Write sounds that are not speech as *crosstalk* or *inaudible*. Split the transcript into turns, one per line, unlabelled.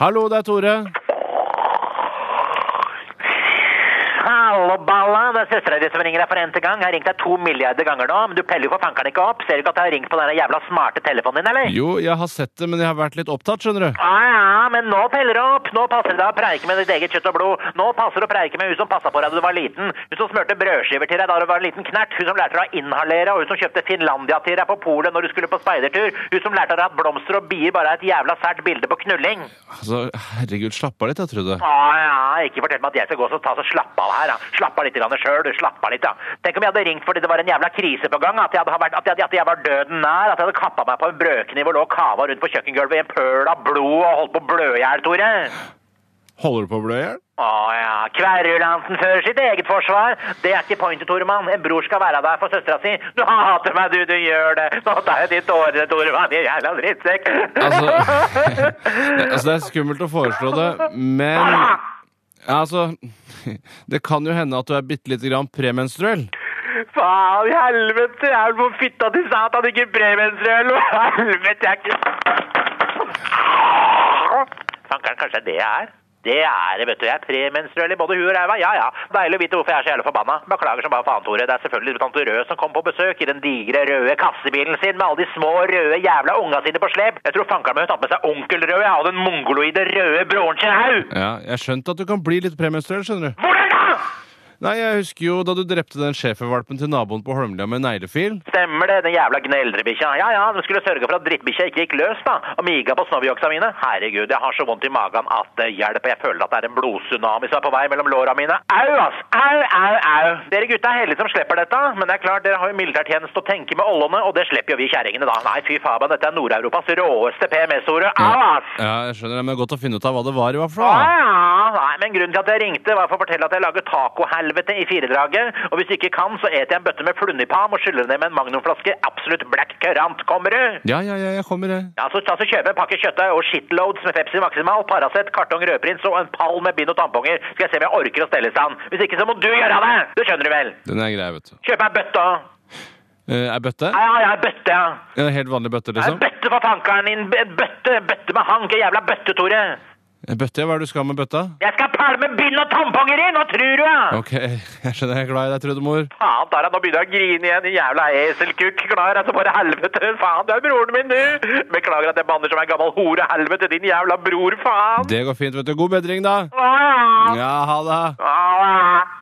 Hallo, det er Tore.
Hallo, Balla. Det er søstera di som ringer deg for n-te gang. Jeg har ringt deg to milliarder ganger nå, men du peller jo for fankeren ikke opp. Ser du ikke at jeg har ringt på den der jævla smarte telefonen din, eller?
Jo, jeg har sett det, men jeg har vært litt opptatt, skjønner du.
Ja, ja, men nå peller det opp. Nå passer det å preike med ditt eget kjøtt og blod. Nå passer det å preike med hun som passa på deg da du var liten. Hun som smørte brødskiver til deg da du var en liten knert. Hun som lærte deg å inhalere, og hun som kjøpte Finlandia til deg på polet når du skulle på speidertur. Hun som lærte deg at blomster og bier bare er et jævla sært bilde på knulling.
Altså, herregud, slapp av litt, jeg trodde.
Ja, ja, ikke fortell meg at jeg skal gå og ta så slappe av her. Da. Slapp av litt sjøl, du. Slapp av litt, da. Tenk om jeg hadde ringt fordi det var en jævla krise på gang. At jeg, hadde vært, at jeg, at jeg var døden nær. At jeg hadde kappa meg på en brødkniv og lå og kava rundt på kjøkkengulvet i en pøl av blod og holdt på å blø i hjel, Tore.
Holder du på å blø i hjel?
Å ja. Kverrulansen fører sitt eget forsvar. Det er ikke pointet, Toremann. En bror skal være der for søstera si. Du hater meg, du. Du gjør det. Nå tar jeg de tårene, Toremann. Din jævla drittsekk. *laughs*
Altså, *laughs* altså, det er skummelt å foreslå det, men ja, altså, det kan jo hende at du er bitte lite grann premenstruell.
Faen, helvete! Jeg er på fitta til satan, ikke premenstruell! Helvete, jeg er ikke Fankeren, kanskje det jeg er? Det er det, vet du. Jeg er premenstruell i både huet og ræva. Ja ja. Deilig å vite hvorfor jeg er så jævla forbanna. Beklager som bare faen, Tore. Det er selvfølgelig tante Rød som kom på besøk i den digre røde kassebilen sin med alle de små røde jævla unga sine på slep. Jeg tror fankeren min har tatt med seg onkel Rød ja, og den mongoloide røde broren sin haug.
Ja, jeg skjønte at du kan bli litt premenstruell, skjønner du.
Hvordan da?
Nei, jeg husker jo da du drepte den schæfervalpen til naboen på Holmlia med neglefil.
Stemmer det, den jævla gneldrebikkja. Ja ja, den skulle sørge for at drittbikkja ikke gikk løs, da. Og miga på snobbjoksa mine. Herregud, jeg har så vondt i magen at det hjelper. Jeg føler at det er en blodtsunami som er på vei mellom låra mine. Au, ass! Au, au, au! Dere gutta er heldige som slipper dette, men det er klart, dere har jo militærtjeneste å tenke med ollene, og det slipper jo vi kjerringene, da. Nei, fy faen, dette er Nord-Europas råeste PMS-ordet. Au, ass!
Ja, jeg skjønner det, men det er godt å finne ut av hva det var, i hvert
Ja,
fall.
ja, nei, Ah, men grunnen til at jeg ringte var for å fortelle at jeg lager tacohelvete i firedraget, og hvis du ikke kan, så eter jeg en bøtte med flundipam og skyller ned med en magnumflaske absolutt black currant, kommer du?
Ja, ja, ja, jeg kommer, jeg.
Ja, så, ta så kjøp en pakke kjøttdeig og shitloads med Pepsi Maximal, Paracet, kartong rødprins og en pall med bind og tamponger. Skal jeg se om jeg orker å stelle i stand. Hvis ikke, så må du gjøre det! Det skjønner du vel?
Den er grei, vet du.
Kjøp ei bøtte òg.
Eh, Er bøtte?
Ja, ja, ja, ei bøtte, ja.
En helt vanlig bøtte,
Ei
liksom?
bøtte for tankeren din. En bøtte, en bøtte med hank. En jævla bøtte, Tore.
En Bøtte, ja. Hva er det du skal med bøtta?
Jeg skal pælme bind og tamponger inn! Hva tror du, ja?
Ok, *laughs* jeg skjønner jeg er glad i deg, Trudemor.
Faen, der, er- nå begynner jeg å grine igjen, din jævla eselkukk. Klar, altså, bare helvete. Faen, du er broren min, du. Beklager at jeg banner som en gammel hore. Helvete, din jævla bror, faen.
Det går fint, vet du. God bedring, da.
Ah,
Ja, ha det.
ah.